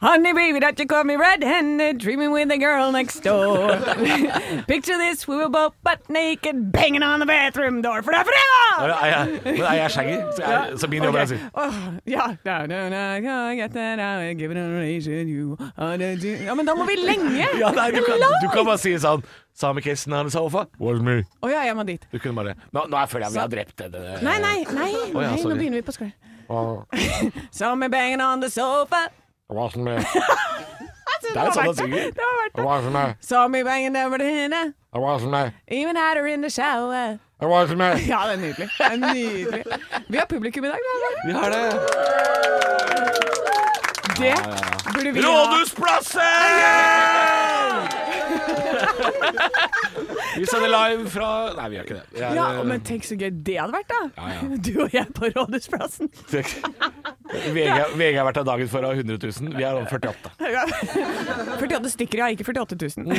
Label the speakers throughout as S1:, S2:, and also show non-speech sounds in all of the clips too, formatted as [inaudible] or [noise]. S1: Honey, baby, that you call me red-handed, dreaming with the girl next
S2: [laughs]
S1: door. Picture this, we were both butt naked, banging on the bathroom door, for det er fredag!
S2: Men er jeg, men er jeg shaggy? Så, er, så min jobb er å si
S1: Åh, ja. Da, da, da, I get that I give it a relation, you are the d- ja, men da må vi lenge!
S2: [laughs] ja, nei, du, kan,
S1: Lang!
S2: du kan bare si sånn Same Kristen han sa Ofa. Was me.
S1: Å ja, jeg må dit.
S2: ah." Du kunne bare Nå, nå føler jeg vi har drept det.
S1: Nei, nei, nei,
S2: Å, ja,
S1: nei nå
S2: sorry.
S1: begynner vi på skole. [laughs] Some are banging on the sofa.
S2: Was me.
S1: Det
S2: er
S1: var
S2: jo sånn han
S1: verdt
S2: synger.
S1: Det var verdt det.
S2: Was me.
S1: Some are banging over the henna,
S2: Was me.
S1: even had her in the shower.
S2: Was me.
S1: [laughs] Ja, det er nydelig. Det er nydelig. Vi har publikum i dag, da.
S2: Vi har det.
S1: Det burde vi ha.
S2: Rådhusplasset! vi sender live fra Nei, vi gjør ikke det. Vi er,
S1: Ja,
S2: eh, [laughs]
S1: men tenk så gøy det hadde vært, da.
S2: Ja, ja.
S1: [laughs] Du og jeg på Rådhusplassen. [laughs]
S2: VG, VG har vært av dagen for å ha 100 000. Vi er om 48.
S1: Ja. 48 stykker, ja. Ikke 48
S2: Mm.
S1: 000.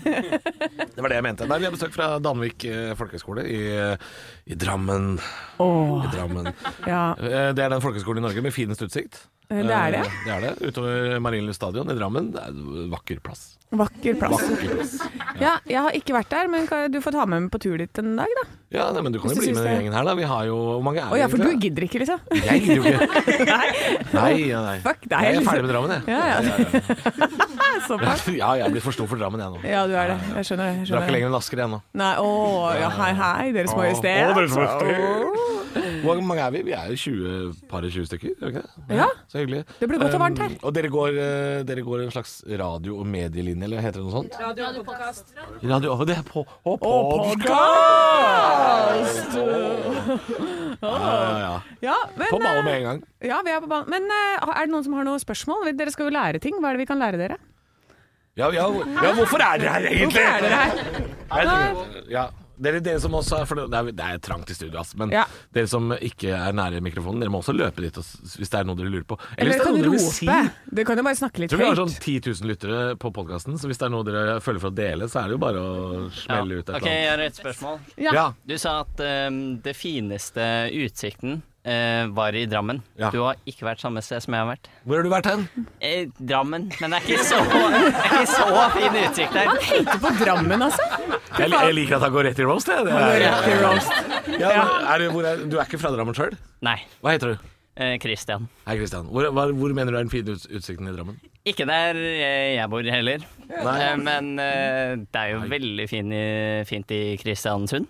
S2: Det var det jeg mente. Nei, vi har besøk fra Danvik eh, folkehøgskole i, i Drammen.
S1: Åh,
S2: I Drammen.
S1: ja.
S2: Eh, Det er den folkeskolen i Norge med finest utsikt.
S1: Eh, det er det.
S2: Eh, Det er det. Utover Marienlyst stadion i Drammen. Det er en vakker plass.
S1: Vakker plass.
S2: Vakker plass.
S1: Ja, jeg har ikke vært der, men kan- du får ta med meg på tur dit en dag, da.
S2: Ja, nei, men du kan jo
S1: Hvis
S2: bli
S1: du
S2: med
S1: syns
S2: den
S1: det.
S2: gjengen her, da. Vi har jo Hvor mange er
S1: Å
S2: vi
S1: ja, for du
S2: egentlig?
S1: gidder ikke, liksom.
S2: [laughs] Jeg gidder jo ikke.
S1: Nei,
S2: Nei, ja, nei.
S1: Fuck deg,
S2: Jeg er
S1: liksom.
S2: ferdig med Drammen, jeg.
S1: Ja, ja.
S2: Ja,
S1: [laughs] såpass.
S2: [laughs] ja, jeg er blitt for stor for Drammen, jeg nå.
S1: Ja, du er det. Jeg skjønner. Jeg
S2: Drakk
S1: skjønner.
S2: lenger enn Asker, jeg nå.
S1: Nei, å, ja, hei, hei, Deres
S2: Å,
S1: Majestet.
S2: Deres Majestet. Hvor mange er vi? Vi er jo 20, par og 20 stykker, er vi ikke det?
S1: Ja.
S2: Så hyggelig.
S1: Det blir godt og varmt her.
S2: Um, og dere går, eh, dere går en slags radio- og medielinje, eller heter det noe sånt? Radiopodkast. Radio, og det er på, og
S1: Podcast!
S2: Ja, ja, ja.
S1: Ja, men,
S2: På ballen
S1: eh,
S2: med en gang.
S1: Ja, vi er på banen. Men eh, er det noen som har noen spørsmål? Vi- Dere skal jo lære ting. Hva er det vi kan lære dere?
S2: Ja, ja, hvor- ja, hvorfor er dere her egentlig?
S1: Hvorfor er dere her?
S2: Jeg tror- Ja. Dere, dere som også er, for det, er, det er trangt i studio, ass, men
S1: Ja.
S2: dere som ikke er nære mikrofonen, dere må også løpe dit og, s- hvis det er noe dere lurer på.
S1: Eller
S2: hvis det er
S1: kan
S2: noe
S1: du
S2: dere vil
S1: rope?
S2: si.
S1: Dere kan jo bare snakke litt
S2: Jeg tror vi har sånn
S1: høyt.
S2: 10 000 lyttere på podkasten, så hvis det er noe dere føler for å dele, så er det jo bare å smelle ut et
S3: Ok, jeg har et spørsmål.
S2: eller annet. Ja.
S3: Du sa at ehm, det fineste utsikten eh, var i Drammen.
S2: Ja.
S3: Du har ikke vært samme sted som jeg har vært.
S2: Hvor har du vært hen?
S3: Eh, Drammen, men det er ikke [laughs] så, det er ikke så fin utsikt der.
S1: Han hater på Drammen, altså.
S2: Jeg, jeg liker at han går rett i roast, jeg. Det er,
S1: Rett til roast.
S2: ja, er, du- hvor er, du er ikke fra Drammen sjøl?
S3: Nei.
S2: Hva heter du?
S3: eh, Christian.
S2: Hei, Kristian. Hvor, hva- hvor mener du er den fine uts- utsikten i Drammen?
S3: Ikke der eh, jeg bor heller. Eh, men eh, det er jo veldig fin i, fint i Kristiansund.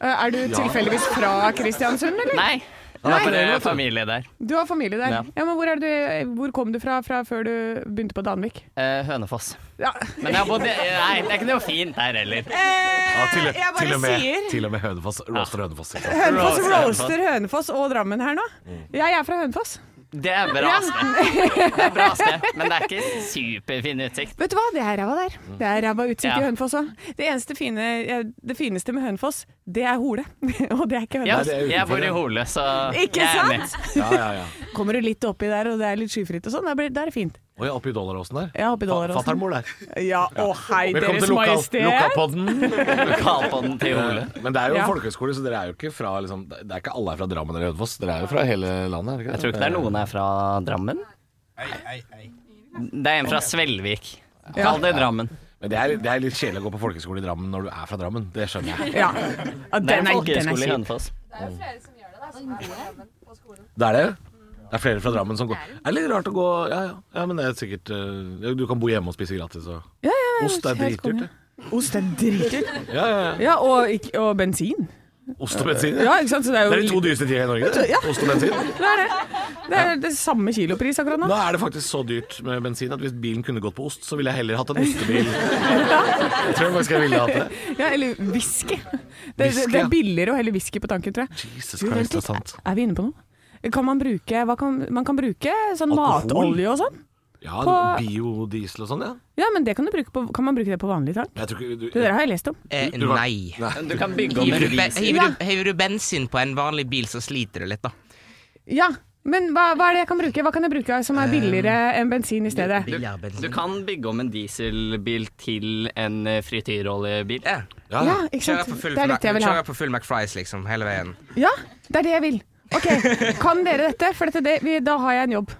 S1: Eh, Er du tilfeldigvis fra Kristiansund, eller?
S3: Nei, det
S2: Nei.
S3: er bare familie der.
S1: Du har familie der.
S3: Ja.
S1: Ja, men hvor, er du, hvor kom du fra, fra før du begynte på Danvik?
S3: Eh, Hønefoss.
S1: Ja.
S3: Men jeg har bodd i Nei, det er ikke noe fint der heller.
S2: Ja, til,
S1: Eh, jeg bare
S2: til og med,
S1: sier.
S2: Til og med Hønefoss. Roaster Hønefoss. ikke
S1: [laughs]
S2: sant?
S1: Hønefoss
S3: Roast,
S1: roaster Hønefoss og Drammen her nå.
S2: Mm.
S1: Ja, jeg er fra Hønefoss.
S3: Det er bra sted. Det er bra sted, men det er ikke superfin utsikt.
S1: Vet du hva, det er ræva der.
S2: Mm.
S1: Det er ræva utsikt
S3: Ja.
S1: i Hønefoss òg. Det eneste fine, eh, det fineste med Hønefoss, det er Hole. [laughs] og det er ikke
S3: Ja,
S1: Hønefoss.
S2: det er utenfor,
S3: jeg bor i
S2: ja.
S3: Hole, så
S1: Ikke
S3: jeg er med.
S1: sant?
S2: Ja, ja, ja.
S1: Kommer du litt oppi der, og det er litt skyfritt og sånn, da blir- da er det fint.
S2: Og jeg er oppe i Dollaråsen der.
S1: Ja, oppe i Dollaråsen.
S2: Fatter'n bor der.
S1: Ja, å hei, Deres
S2: Velkommen til lokal,
S1: Majestet.
S2: lokalpodden.
S3: Lokalpodden til Hole.
S2: Men det er jo
S1: Ja.
S2: en folkehøyskole, så dere er jo ikke fra liksom, Det er ikke alle er fra Drammen eller Hønefoss. Dere er jo fra hele landet. er dere
S3: Jeg tror ikke det er noen her fra Drammen. Det er en fra Svelvik. Kall det Drammen.
S2: Men det er, det er litt kjedelig å gå på folkehøyskole i Drammen når du er fra Drammen. Det skjønner jeg.
S1: Ja. Ja,
S3: Det
S1: den er,
S3: er en
S1: den er
S3: folkehøyskole i
S1: kjip.
S3: Hønefoss.
S2: Det er det. Det er flere fra Drammen som går Det er litt rart å gå Ja, ja. ja men det er sikkert eh, Du kan bo hjemme og spise gratis og
S1: Ja, ja, ja,
S2: Ost er
S1: helt
S2: dritdyrt,
S1: konge. Ost er dritdyrt.
S2: Ja, ja. ja.
S1: Ja, og, ikk- og bensin.
S2: Ost og bensin. Ja.
S1: Ja, ikke sant? Så det er jo
S2: Det er de to dyreste tida i Norge, det. Ost og bensin.
S1: Det er det. Det er det samme kilopris akkurat nå.
S2: Nå er det faktisk så dyrt med bensin at hvis bilen kunne gått på ost, så ville jeg heller hatt en
S1: [laughs]
S2: ostebil. Jeg tror jeg faktisk jeg ville hatt det.
S1: Ja, eller whisky. Det, det,
S2: Whisky,
S1: det
S2: ja.
S1: er billigere å helle whisky på tanken, tror jeg.
S2: Jesus
S1: Du,
S2: Christ,
S1: vent
S2: det er
S1: litt.
S2: sant.
S1: Er vi inne på noe? Kan man bruke hva kan, Man kan bruke sånn
S2: Alkohol?
S1: matolje og sånn.
S2: Ja,
S1: På-
S2: biodiesel og sånn, ja.
S1: Ja, men det kan, du bruke på, kan man bruke det på vanlig tank?
S2: Jeg tror ikke du,
S1: Det der har jeg lest om.
S4: Eh,
S2: Du kan-
S4: nei.
S3: Du kan bygge om
S4: Hiver
S3: en
S4: du, ben-
S3: bil.
S4: hiver, du, hiver du bensin på en vanlig bil, så sliter du litt, da.
S1: Ja, men hva, hva er det jeg kan bruke? Hva kan jeg bruke som
S2: Eh,
S1: er billigere enn bensin i stedet?
S3: [laughs] Du kan bygge om en dieselbil til en eh, frityroljebil.
S4: Ja.
S2: ja, ja.
S1: Ja, ikke
S4: Kjører
S1: sant?
S4: på full,
S1: Det er dette jeg vil ha.
S4: kjører på full McFries, liksom, hele veien.
S1: Ja, det er det jeg vil. Ok, Kan dere dette? For dette, det, vi, da har jeg en jobb.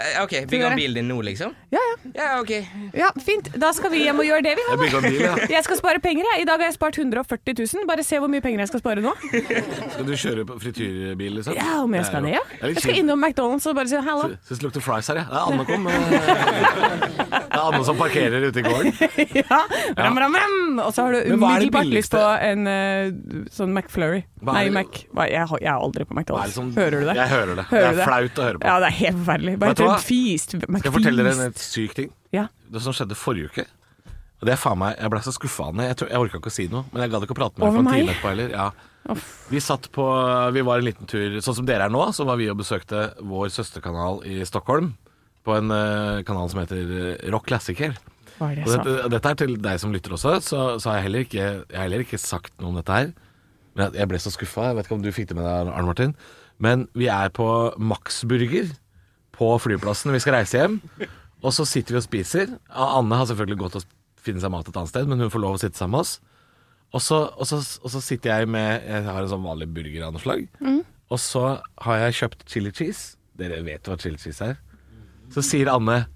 S4: Eh, OK, bygg
S1: dere.
S4: om bilen din nå, liksom?
S1: Ja, ja.
S4: Ja, OK.
S1: ja Fint. Da skal vi hjem og gjøre det vi
S2: Jeg
S1: har. da.
S2: bygger en bil, ja.
S1: Jeg skal spare penger. jeg. I dag har jeg spart 140 000. Bare se hvor mye penger jeg skal spare nå.
S2: Skal du kjøre på frityrbil, liksom?
S1: Ja, om jeg skal det, ja.
S2: Jeg
S1: Jeg skal innom McDonald's og bare si hallo.
S2: Syns det lukter fries her, jeg. Det er Anne kom. eh. Det er Anne som parkerer ute i gården.
S1: Ja. Ram, ram, ram. Og så har du
S2: Men hva er det
S1: umiddelbart lyst på
S2: billigste?
S1: en eh, sånn McFlurry.
S2: Hva
S1: Nei,
S2: er det-
S1: Mac. Hva, jeg, har- jeg er aldri på
S2: Hva er
S1: McDonald's.
S2: det som-
S1: Hører du det?
S2: Jeg hører det.
S1: Hører du
S2: det er flaut å høre på.
S1: Ja, det er helt forferdelig. Bare
S2: Vet du hva?
S1: en feast.
S2: Skal jeg fortelle dere en helt syk ting?
S1: Ja.
S2: Det som skjedde forrige uke. Og det er faen meg, Jeg ble så skuffa av henne. Jeg, tror- jeg orka ikke å si noe, men jeg gadd ikke å prate med henne
S1: Over
S2: for en
S1: meg?
S2: time etterpå heller. Ja. Vi satt på Vi var en liten tur, sånn som dere er nå, så var vi og besøkte vår søsterkanal i Stockholm. På en eh, kanal som heter eh, Rock Classicer.
S1: Hva er det
S2: Og
S1: jeg sa?
S2: dette, og dette er til deg som lytter også, så, så har jeg heller, ikke, jeg har heller ikke sagt noe om dette her. Men jeg- jeg ble så skuffa. Jeg vet ikke om du fikk det med deg, Arne Martin. Men vi er på Max Burger på flyplassen. Vi skal reise hjem. Og så sitter vi og spiser. A- Anne har selvfølgelig gått og finne seg mat et annet sted, men hun får lov å sitte sammen med oss. Og så, og så, og så sitter jeg med Jeg har en sånn vanlig burger av noe slag. Og så har jeg kjøpt chili cheese. Dere vet hva chili cheese er. Så sier Anne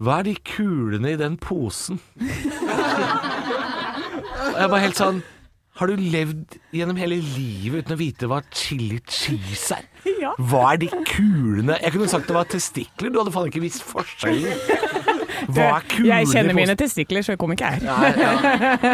S2: hva er de kulene i den posen? Og jeg var helt sånn Har du levd gjennom hele livet uten å vite hva chili cheese er?
S1: Ja.
S2: Hva er de kulene? Jeg kunne sagt det var testikler. Du hadde faen ikke visst forskjellen. Hva er kulene
S1: Jeg
S2: i
S1: kjenner
S2: posen?
S1: mine testikler, så jeg kom ikke her.
S2: Nei, ja.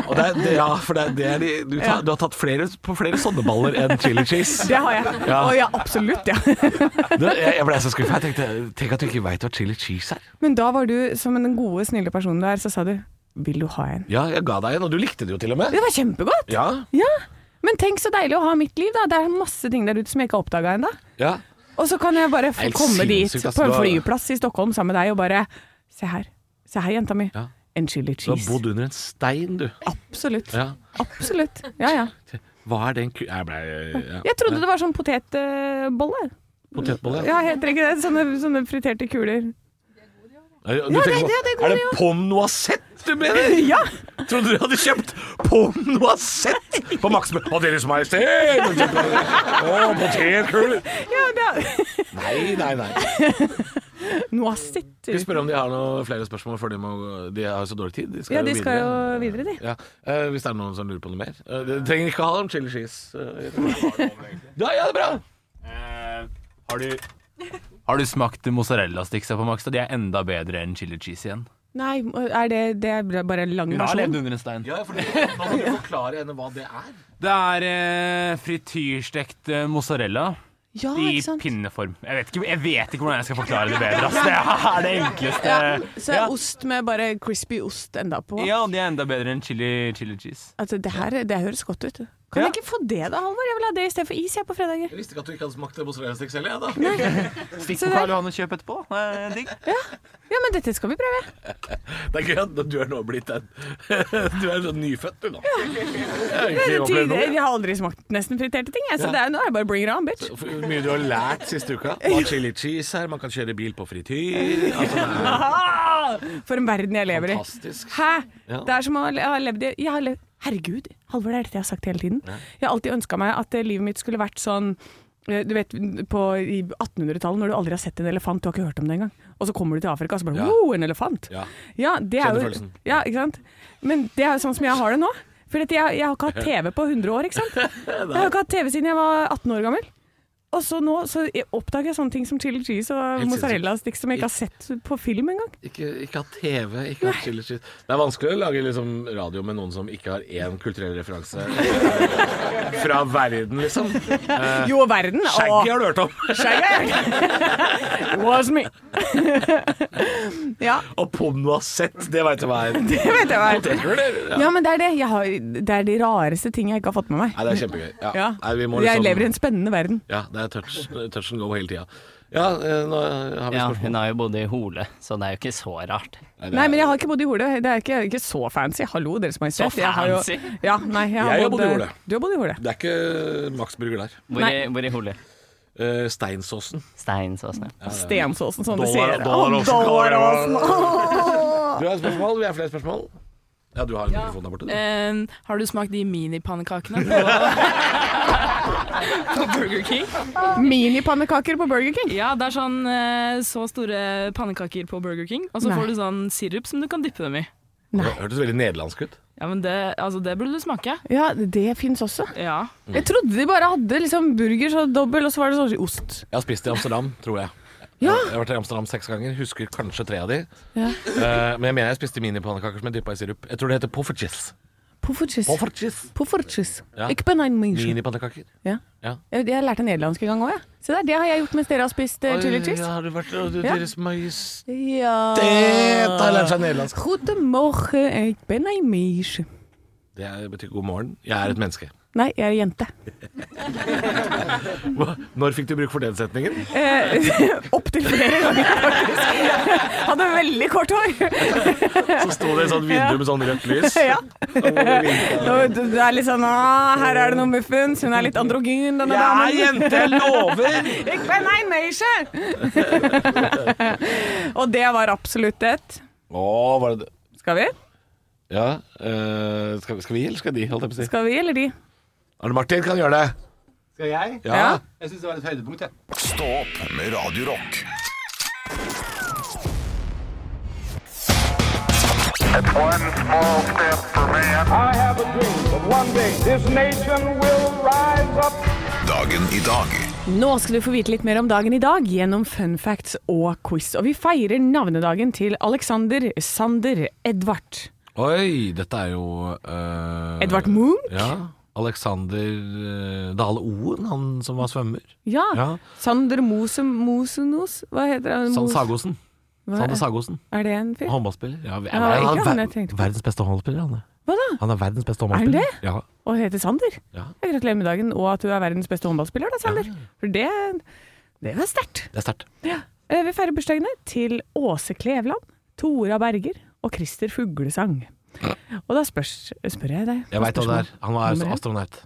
S2: Og det er, det, ja, for det er, det er de, du, tar, du har tatt flere, på flere sånne baller enn chili cheese.
S1: Det har jeg.
S2: Ja.
S1: Å ja, absolutt, ja. [laughs]
S2: Du, jeg, jeg ble så skuffa. Jeg tenkte Tenk at du ikke veit hva chili cheese er.
S1: Men da var du, som den gode, snille personen du er, så sa du 'vil du ha en'?
S2: Ja, jeg ga deg en, og du likte det jo til og med.
S1: Det var kjempegodt!
S2: Ja,
S1: Ja. Men tenk så deilig å ha mitt liv, da. Det er masse ting der ute som jeg ikke har oppdaga ennå.
S2: ja.
S1: Og så kan jeg bare få
S2: Helt
S1: komme dit
S2: sinnssykt,
S1: på
S2: altså. ass.
S1: en
S2: Du har-
S1: flyplass i Stockholm sammen med deg og bare Se her. Se her, jenta mi.
S2: Ja.
S1: En chili
S2: Du har
S1: cheese.
S2: bodd under en stein, du.
S1: Absolutt.
S2: Ja.
S1: Absolutt. Ja, ja.
S2: Hva er den ku... Jeg ble ja.
S1: Jeg trodde det var sånn potetbolle.
S2: Potetbolle.
S1: Ja, heter ikke det? Sånne, sånne friterte kuler.
S2: Du
S1: Ja,
S2: tenker
S1: det-
S2: på-
S1: ja, det går jo.
S2: er det pomme noisette du [laughs] mener?
S1: Ja!
S2: Trodde du hadde kjøpt pomme noisette på Max Å, Deres Majestet! Å, potetkuler!
S1: ja det
S2: Nei, nei, nei.
S1: [laughs] Noe sitt.
S2: Vi spør om de har noen flere spørsmål, for de, må, de har så dårlig tid. De skal
S1: Ja, de
S2: jo
S1: skal jo videre,
S2: videre.
S1: de.
S2: Ja. eh, hvis det er noen som lurer på noe mer. Eh, dere trenger ikke ha det om chili cheese. eh, ja, ja, det er bra!
S5: Har du har du smakt mozzarella-sticksa på Max? da? De er enda bedre enn chili cheese igjen.
S1: Nei, er det, det er bare en lang
S5: Hun har levd
S1: versjon?
S5: under en stein.
S2: Ja, for nå må du forklare henne hva det er.
S5: Det er eh, frityrstekt eh, mozzarella
S1: Ja,
S5: i
S1: ikke sant?
S5: pinneform. Jeg vet, ikke, jeg vet ikke hvordan jeg skal forklare det bedre. Ass. Det er det enkleste.
S1: Ja, så
S5: Ja.
S1: er ost med bare crispy ost enda på.
S5: Ja, de er enda bedre enn chili, chili cheese.
S1: Altså, det her det høres godt ut. Kan
S5: Ja.
S1: jeg ikke få det da, Halvor? Jeg vil ha det istedenfor is jeg på fredager.
S2: Jeg visste ikke at du ikke hadde smakt mozzarella-stikk selv, jeg, da.
S5: Stikk
S1: Se
S5: på
S1: der.
S5: Karl Johan og kjøp etterpå. Eh, digg.
S1: Ja, men dette skal vi prøve.
S2: Det er gøy at du er nå blitt en [laughs] Du er sånn nyfødt, du nå. Jeg
S1: Det
S2: har
S1: er
S2: ikke opplevd
S1: tidligere-
S2: noe.
S1: Jeg har aldri smakt nesten friterte ting, jeg, så
S2: Ja.
S1: det er, nå er det bare bring it on, bitch.
S2: Hvor mye du har lært siste uka. Hva er chili cheese her, man kan kjøre bil på frityr altså, det er
S1: Ah, [laughs] For en verden jeg lever i.
S2: Fantastisk.
S1: Hæ?
S2: Ja.
S1: Det er som å ha levd i jeg har levd, Herregud, Halvor, det er dette jeg har sagt hele tiden. Jeg har alltid ønska meg at eh, livet mitt skulle vært sånn eh, du vet, på, I 1800-tallet, når du aldri har sett en elefant, du har ikke hørt om det engang, og så kommer du til Afrika og så bare
S2: Ja.
S1: wow, en elefant!
S2: Ja.
S1: Ja, det er
S2: Kjenner
S1: jo,
S2: følelsen.
S1: ja, ikke sant? Men det er jo sånn som jeg har det nå. For at jeg, jeg har ikke
S2: [laughs]
S1: hatt TV på 100 år, ikke sant? Jeg har ikke hatt TV siden jeg var 18 år gammel. Og så nå så jeg oppdager jeg sånne ting som chili cheese og
S2: Helt sinnssykt.
S1: mozzarella-stikk som jeg ikke har sett på film engang.
S2: Ikke, ikke ha TV, ikke ha chili cheese. Det er vanskelig å lage liksom, radio med noen som ikke har én kulturell
S1: [laughs]
S2: referanse fra verden, liksom.
S1: Jo, verden! og-
S2: Shaggy har du hørt om,
S1: Skjegget!
S2: [laughs]
S1: Was me. [laughs] ja,
S2: og Pomme Noisette, det veit du hva er.
S1: det vet jeg hva er.
S2: Potetgull, ja.
S1: Ja, men det er det. Jeg har, det er de rareste ting jeg ikke har fått med meg.
S2: Nei, det er kjempegøy. Ja.
S1: Ja.
S2: Nei, vi må
S1: Jeg
S2: liksom-
S1: lever i en spennende verden.
S2: Ja, det er touch, touch and go hele tida. Ja, eh, nå har vi
S3: Ja,
S2: spørsmål.
S3: hun har jo bodd i Hole, så det er jo ikke så rart.
S2: det er-
S1: Nei, men jeg har ikke bodd i Hole. Det er ikke, ikke så fancy. Hallo, Deres Majestet.
S3: Så
S1: Jeg har jo-
S3: fancy?
S1: Ja, nei, jeg har,
S2: Jeg har bodd i
S1: eh,
S2: Hole.
S1: Du har bodd i Hole.
S2: Det er ikke Max Burger der.
S3: Hvor i, hvor i Hole?
S2: Eh, Steinsåsen.
S3: Steinsåsen, ja.
S1: Stensåsen, som du
S2: Dollar-
S1: sier.
S2: Dollaråsen.
S1: Å, Dollaråsen.
S2: Du har et spørsmål? Vi har flere spørsmål. Ja, du har en mikrofon der borte. du.
S6: Eh, har du smakt de minipannekakene? [laughs] på Burger King.
S1: Minipannekaker på Burger King.
S6: Ja, det er sånn eh, så store pannekaker på Burger King, og så
S1: Nei.
S6: får du sånn sirup som du kan dyppe dem i.
S2: Det hørtes veldig nederlandsk ut.
S6: Ja, men det, altså, det burde du smake.
S1: Ja, det fins også.
S6: Ja.
S2: Mm.
S1: Jeg trodde de bare hadde liksom burger så dobbel, og så var det sånn ost.
S2: Jeg har spist i Amsterdam, tror jeg.
S1: Ja.
S2: Jeg har vært i Amsterdam seks ganger, husker kanskje tre av de.
S1: Ja.
S2: Eh, men jeg mener jeg spiste minipannekaker som jeg dyppa i sirup. Jeg tror det heter poffertjes.
S1: Poffertjes.
S2: Poffertjes.
S1: Poffertjes.
S2: Ja.
S1: Ikke benein minchen.
S2: Minipannekaker.
S1: Ja.
S2: Ja.
S1: Jeg, jeg lærte nederlandsk en gang òg, jeg. Se der, det har jeg gjort mens dere har spist eh, chili cheese.
S2: Ja, har du vært og du,
S1: Ja.
S2: Deres Ah. Majestet
S1: Ja.
S2: har lært seg nederlandsk.
S1: Guten morgen, jeg ben ein Mensch.
S2: Det er- betyr god morgen. Jeg er et menneske.
S1: Nei, jeg er jente.
S2: Hva- Når fikk du bruk for den [laughs] setningen?
S1: Eh, [laughs] Opptil flere ganger, faktisk. Hadde veldig kort hår.
S2: Så sto det et sånt vindu med sånn rødt lys.
S1: Ja. Og Du du er litt sånn ah, Her er det noe muffens. Hun er litt androgyn, denne damen.
S2: jeg lover!
S1: [laughs] Jeg ben ein Mensch. [laughs] Og det var absolutt et.
S2: Å, var det det?
S1: Skal vi?
S2: Ja, eh, skal, skal vi, eller skal de? Holdt jeg på å si.
S1: Skal vi eller de?
S2: Arne Martin kan gjøre det.
S5: Skal jeg?
S2: Ja.
S1: Ja.
S5: Jeg syns det var et høydepunkt, jeg.
S7: Stå opp med Radio Rock.
S8: One small step for man. I have a dream that one day this nation will rise up.
S7: Dagen i dag.
S1: Nå skal du få vite litt mer om dagen i dag gjennom fun facts og quiz. Og vi feirer navnedagen til Alexander Sander Edvard.
S2: Oi, dette er jo eh,
S1: Edvard Munch?
S2: Ja. Alexander eh, Dale Oen, han som var svømmer.
S1: Ja.
S2: Ja.
S1: Sander Mose Mosenos, hva heter han?
S2: Sand
S1: Mos-
S2: Sagosen.
S1: Hva-
S2: Sander Sagosen.
S1: Er det en fyr?
S2: Håndballspiller. Ja, vi-
S1: Ja,
S2: han er
S1: ikke han
S2: ver-
S1: jeg tenkte på.
S2: verdens beste håndballspiller, han er.
S1: Hva da?
S2: Han er verdens beste håndballspiller.
S1: Er han
S2: Ja.
S1: Og heter Sander?
S2: Ja.
S1: Jeg Gratulerer med dagen, og at du er verdens beste håndballspiller da, Sander. For det, det var sterkt.
S2: Det er sterkt.
S1: Eh, Vi feirer bursdagene til Åse Kleveland, Tora Berger og Christer Fuglesang. Og da spørs, spør jeg deg.
S2: Jeg veit hva det er. Han var
S1: Nummer én.
S2: astronaut.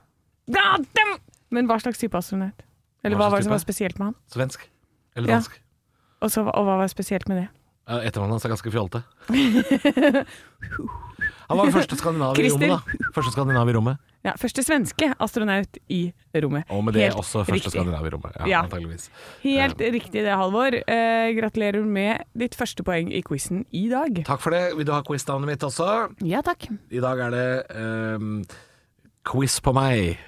S1: Ja, dem! Men hva slags type astronaut? Eller
S2: Hva
S1: hva
S2: slags
S1: var det som
S2: type?
S1: var spesielt med han?
S2: Svensk. Eller
S1: Ja.
S2: dansk.
S1: Og, så, og hva var spesielt med det?
S2: Ja. Etternavnet hans er ganske [laughs] fjollete. Han var første skandinav i
S1: Christer.
S2: rommet, da. Første skandinav i rommet.
S1: Ja, første svenske astronaut i rommet.
S2: Og med det
S1: Helt
S2: også første
S1: riktig.
S2: skandinav i rommet. Ja,
S1: Ja.
S2: antageligvis.
S1: Helt riktig det, Halvor. Eh, gratulerer med ditt første poeng i quizen i dag.
S2: Takk for det. Vil du ha quiznavnet mitt også?
S1: Ja takk.
S2: I dag er det ehm, quiz på meg.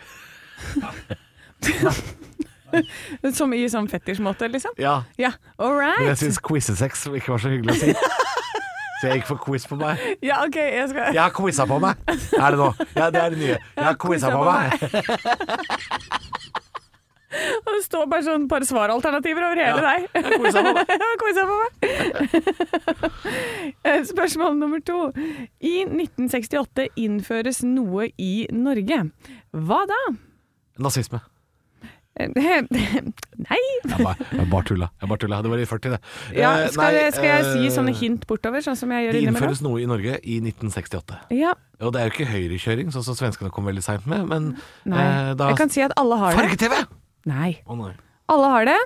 S1: Som i sånn fetisjmåte, liksom?
S2: Ja.
S1: Ja, all
S2: Men jeg
S1: right.
S2: syns quizesex ikke var så hyggelig å si. Så jeg gikk for quiz på meg.
S1: Ja, OK, jeg skal [laughs]
S2: Jeg har quiza på meg, er det nå. Ja, det er det nye. Jeg har quiza på meg.
S1: Og Det står bare sånn par svaralternativer over hele
S2: Ja.
S1: deg.
S2: Quiza på meg.
S1: [laughs] Ja, Kosa på meg. [laughs] Eh, Spørsmål nummer to. I 1968 innføres noe i Norge. Hva da? [laughs]
S2: Nazisme.
S1: Eh, Nei
S2: Jeg bare, jeg bare tulla. Jeg bare tulla. Det var i 40, det.
S1: ja,
S2: Eh,
S1: skal,
S2: nei,
S1: jeg- skal jeg si
S2: eh,
S1: sånne hint bortover, sånn som jeg gjør
S2: Det
S1: innimellom?
S2: innføres noe i Norge i 1968.
S1: Ja,
S2: Og det er jo ikke høyrekjøring, sånn som svenskene kom veldig seint med, men
S1: nei.
S2: eh, da
S1: Jeg kan si at alle har det.
S2: Farge-TV!
S1: Nei.
S2: Å nei.
S1: Alle har det.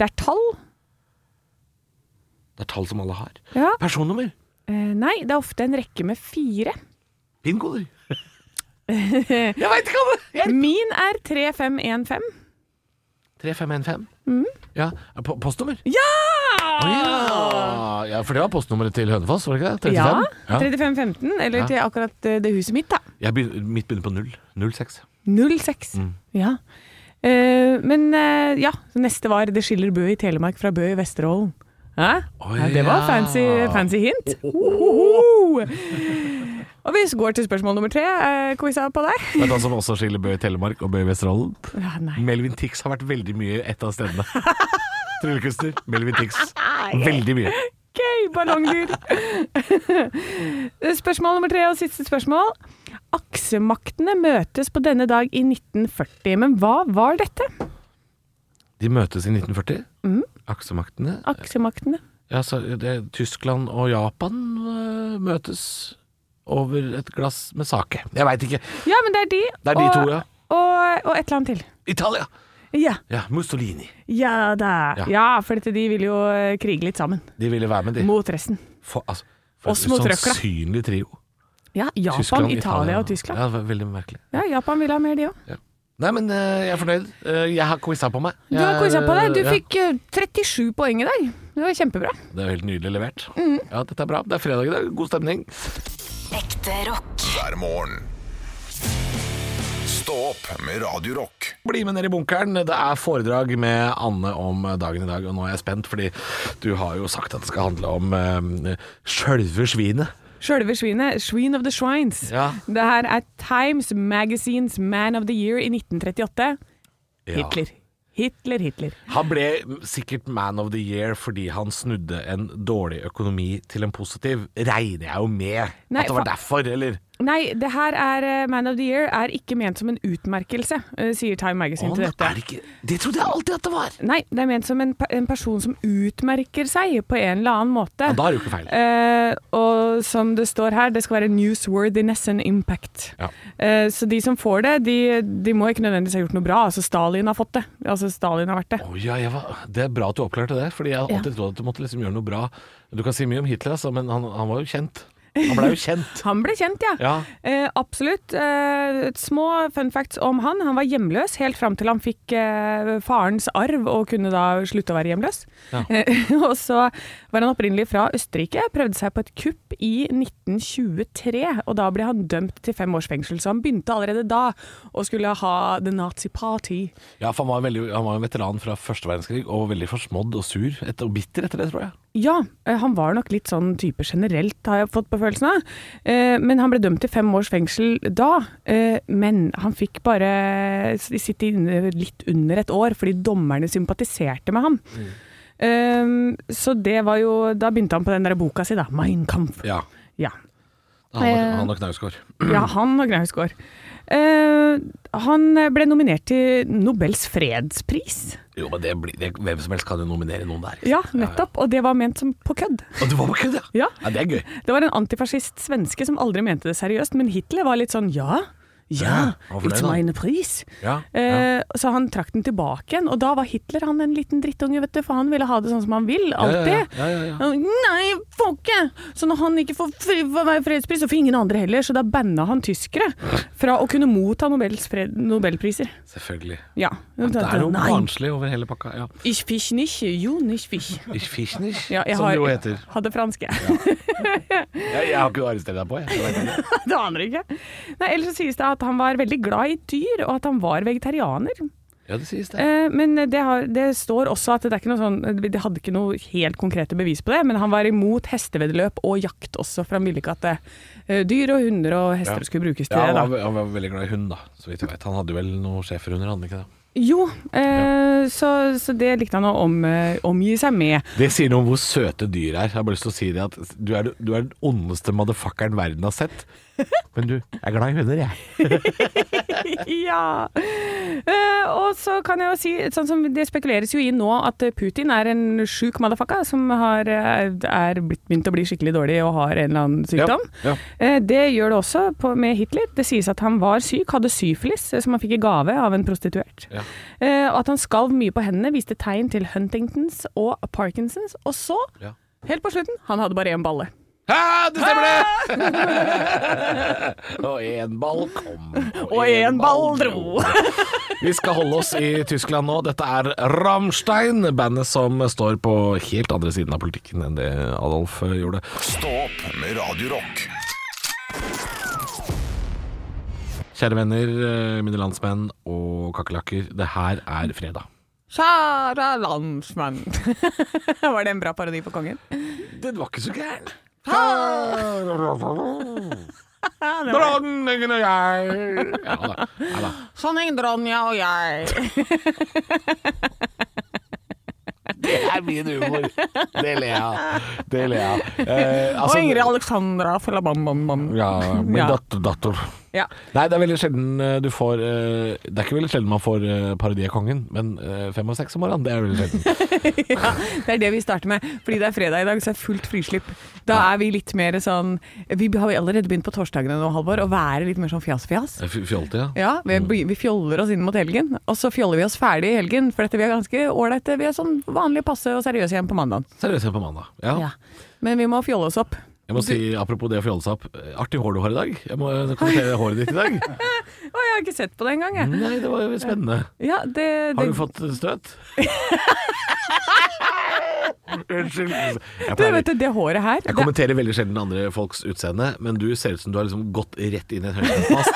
S1: Det er tall.
S2: Det er tall som alle har.
S1: Ja.
S2: Personnummer.
S1: Eh, Nei, det er ofte en rekke med fire.
S2: Pinkoder. jeg veit ikke hva det er!
S1: Min er 3515.
S2: 3515.
S1: Mm.
S2: Ja, eh, po- postnummer. Å ja. ja, for det var postnummeret til Hønefoss, var det ikke det?
S1: Ja.
S2: 35? Ja.
S1: 3515, eller
S2: Ja.
S1: til akkurat eh, det huset mitt, da.
S2: Jeg begynner, mitt begynner på null. 06.
S1: 06.
S2: Mm.
S1: Ja. Eh, men eh, ja, så neste var 'Det skiller Bø i Telemark fra Bø i Vesterålen'. Hæ?
S2: Å,
S1: ja, det var
S2: ja.
S1: fancy, fancy hint. Ohoho! Og vi går til spørsmål nummer tre. Uh, quiza på deg.
S2: Vet du hva som også skiller Bø i Telemark og Bø i Vesterålen?
S1: Ja, nei.
S2: Melvin Tix har vært veldig mye et av
S1: [laughs]
S2: stedene. Tryllekunstner Melvin Tix. Veldig mye.
S1: Gøy, ballongdyr. [laughs] spørsmål nummer tre og siste spørsmål. Aksemaktene møtes på denne dag i 1940, men hva var dette?
S2: De møtes i 1940.
S1: Mm.
S2: Aksemaktene.
S1: Aksemaktene.
S2: Ja, så det, Tyskland og Japan øh, møtes over et glass med sake. Jeg veit ikke.
S1: Ja, men det er de.
S2: Det er de
S1: og,
S2: to, ja.
S1: Og, og et eller annet til.
S2: Italia!
S1: Ja.
S2: Ja, Mussolini.
S1: Ja da.
S2: Ja.
S1: Ja, for dette, de vil jo eh, krige litt sammen.
S2: De ville være med, de.
S1: Mot resten.
S2: For, altså, for
S1: Oss
S2: en
S1: mot røkla.
S2: usannsynlig trio.
S1: Ja, Japan, Italia og Tyskland.
S2: Ja, det var veldig merkelig.
S1: Ja, Japan vil ha mer, de òg.
S2: Ja. Nei, men eh, jeg er fornøyd. Eh, jeg har quiza på meg.
S1: Du har
S2: Jeg-
S1: quiza på deg. Du
S2: ja,
S1: fikk eh, 37 poeng i dag. Det var kjempebra.
S2: Det er jo helt nydelig levert.
S1: Mm.
S2: Ja, dette er bra. Det er fredag i dag. God stemning.
S9: Ekte rock.
S7: hver morgen. Stå opp med Radio Rock.
S2: Bli med ned i bunkeren. Det er foredrag med Anne om dagen i dag, og nå er jeg spent, fordi du har jo sagt at det skal handle om eh, sjølve svinet.
S1: Sjølve svinet, Sween of the Swines.
S2: Ja.
S1: Det her er Times Magazines Man of the Year i 1938. Hitler. Hitler, Hitler.
S2: Han ble sikkert man of the year fordi han snudde en dårlig økonomi til en positiv. Regner jeg jo med
S1: Nei,
S2: at det var
S1: fa-
S2: derfor, eller?
S1: Nei, det her er eh, Man of the Year er ikke ment som en utmerkelse, eh, sier Time Magazine til
S2: Å,
S1: dette.
S2: er det ikke Det trodde jeg alltid at det var!
S1: Nei, det er ment som en, pe- en person som utmerker seg på en eller annen måte.
S2: Ja, da er det jo ikke feil.
S1: Eh, og som det står her, det skal være newsworthiness and impact.
S2: Ja.
S1: Eh, så de som får det, de, de må ikke nødvendigvis ha gjort noe bra. Altså Stalin har fått det. Altså Stalin har vært det.
S2: Å ja, jeg var, det er bra at du oppklarte det, fordi jeg har
S1: Ja.
S2: alltid trodd at du måtte liksom gjøre noe bra. Du kan si mye om Hitler, altså, men han, han var jo kjent. Han blei jo kjent.
S1: Han ble kjent, ja.
S2: Ja.
S1: Eh, absolutt. Eh, et små fun facts om han. Han var hjemløs helt fram til han fikk eh, farens arv og kunne da slutte å være hjemløs. [laughs] Eh, og så var han opprinnelig fra Østerrike, prøvde seg på et kupp i 1923, og da ble han dømt til fem års fengsel. Så han begynte allerede da å skulle ha The Nazi Party.
S2: Ja, for han var, veldig, han var en veteran fra første verdenskrig, og veldig forsmådd og sur etter, og bitter etter det, tror jeg.
S1: Ja, eh, han var nok litt sånn type generelt, har jeg fått på følelsen av. Eh, Men han ble dømt til fem års fengsel da. eh, Men han fikk bare eh, sitte inne litt under et år, fordi dommerne sympatiserte med ham.
S2: Mm.
S1: Eh, Så det var jo Da begynte han på den der boka si, da. 'Mein Kampf'.
S2: Ja.
S1: Ja.
S2: Han var,
S1: Eh.
S2: han var knausgård.
S1: Ja, han og Knausgård. Eh, Han ble nominert til Nobels fredspris.
S2: Jo, men det blir, det, hvem som helst kan jo nominere noen der. ikke
S1: Ja,
S2: sant?
S1: nettopp. Og det var ment som på kødd.
S2: Ja. Og du var på kødd, ja.
S1: Ja.
S2: ja! Det [laughs] er gøy.
S1: Det var en antifascist svenske som aldri mente det seriøst, men Hitler var litt sånn ja, ja,
S2: Ja, hvorfor det
S1: it's
S2: da?
S1: mine pris.
S2: Ja,
S1: Eh, så han trakk den tilbake igjen, og da var Hitler han en liten drittunge, vet du, for han ville ha det sånn som han vil,
S2: ja,
S1: alltid.
S2: ja, ja, ja.
S1: Han, Nei, får ikke! Så når han ikke får fri- for meg fredspris, så får ingen andre heller, så da banna han tyskere fra å kunne motta Nobels fred, nobelpriser.
S2: Selvfølgelig.
S1: Ja.
S2: Det er noe
S1: Nei,
S2: barnslig over hele pakka. Ja.
S1: ich fisch nicht, jo nicht fisch.
S2: Ich fisch nicht,
S1: Ja, jeg
S2: som
S1: har-
S2: det jo heter.
S1: Hadde franske.
S2: Jeg, jeg har ikke arrestert deg på, jeg. jeg. [laughs] vet ikke.
S1: [laughs] Det aner jeg ikke. Nei, ellers så sies det at han var veldig glad i dyr, og at han var vegetarianer.
S2: Ja, det sies det.
S1: Eh, men det, har, det står også at det er ikke noe sånn De hadde ikke noe helt konkrete bevis på det, men han var imot hesteveddeløp og jakt også, for han ville ikke at eh, dyr og hunder og hester skulle brukes til
S2: Ja, han
S1: det.
S2: var,
S1: da.
S2: ve- han var veldig glad i hund, da. Så vidt jeg vet. Han hadde vel noen schæferhunder, hadde han ikke det?
S1: Jo, eh, så, så det likte han å om, eh, omgi seg med.
S2: Det sier noe om hvor søte dyr er. Jeg har bare lyst til å si det at du er, du er den ondeste motherfuckeren verden har sett. Men du, jeg er glad i hunder, jeg.
S1: ja. Eh, og så kan jeg jo si, sånn som det spekuleres jo i nå, at Putin er en sjuk motherfucker som har, eh, er blitt, begynt å bli skikkelig dårlig og har en eller annen sykdom.
S2: Ja, ja.
S1: Eh, det gjør det også på, med Hitler. Det sies at han var syk, hadde syfilis, eh, som han fikk i gave av en prostituert. Eh, og at han skalv mye på hendene, viste tegn til Huntingtons og Parkinsons. Og så,
S2: Ja.
S1: helt på slutten, han hadde bare én balle.
S2: Hæ, det stemmer det! [laughs] og én ball kom,
S1: Og én ball dro!
S2: Vi skal holde oss i Tyskland nå. Dette er Rammstein, bandet som står på helt andre siden av politikken enn det Adolf eh, gjorde.
S7: Stå opp med Radio Rock.
S2: Kjære venner, eh, mine landsmenn og kakerlakker. Det her er fredag.
S1: [laughs] Kjære landsmann. [laughs] Var det en bra parodi på kongen?
S2: Den var ikke så gæren. Dronningen og jeg. Ja da. Ja, da.
S1: Sånn heng Dronja og jeg.
S2: Det er min humor. Det ler jeg av. Det ler jeg av. Eh,
S1: Og
S2: altså-
S1: Ingrid Alexandra fra Bam Bam Bam.
S2: Ja, min
S1: Ja.
S2: datter. datter.
S1: Ja.
S2: Nei, det er veldig sjelden eh, du får eh, Det er ikke veldig sjelden man får eh, parodi av kongen, men eh, fem og seks om morgenen, det er veldig sjelden.
S1: ja, det er det vi starter med. Fordi det er fredag i dag, så er fullt frislipp. Da er vi litt mer sånn Vi har jo allerede begynt på torsdagene nå, Halvor, å være litt mer sånn fjas-fjas.
S2: F- Eh, Fjolte, ja.
S1: Ja, vi, blir- vi fjoller oss inn mot helgen, og så fjoller vi oss ferdig i helgen. For dette vi er ganske ålreite. Vi er sånn vanlig passe og seriøse igjen på mandagen.
S2: Seriøst igjen på mandag. Ja.
S1: Men vi må fjolle oss opp.
S2: Jeg må si, Apropos det å fjolle seg opp, eh, artig hår du har i dag. Jeg må eh, kommentere håret ditt i dag.
S1: Å, jeg har ikke sett på det engang, jeg.
S2: Nei, det var jo spennende.
S1: Mm. Ja, det, det,
S2: Har du fått eh, støt?
S1: [laughs]
S2: Unnskyld. Jeg,
S1: du, vet
S2: pleier,
S1: du, det håret her
S2: jeg
S1: det,
S2: kommenterer veldig sjelden andre folks utseende, men du ser ut som du har liksom gått rett inn i en høytidspast.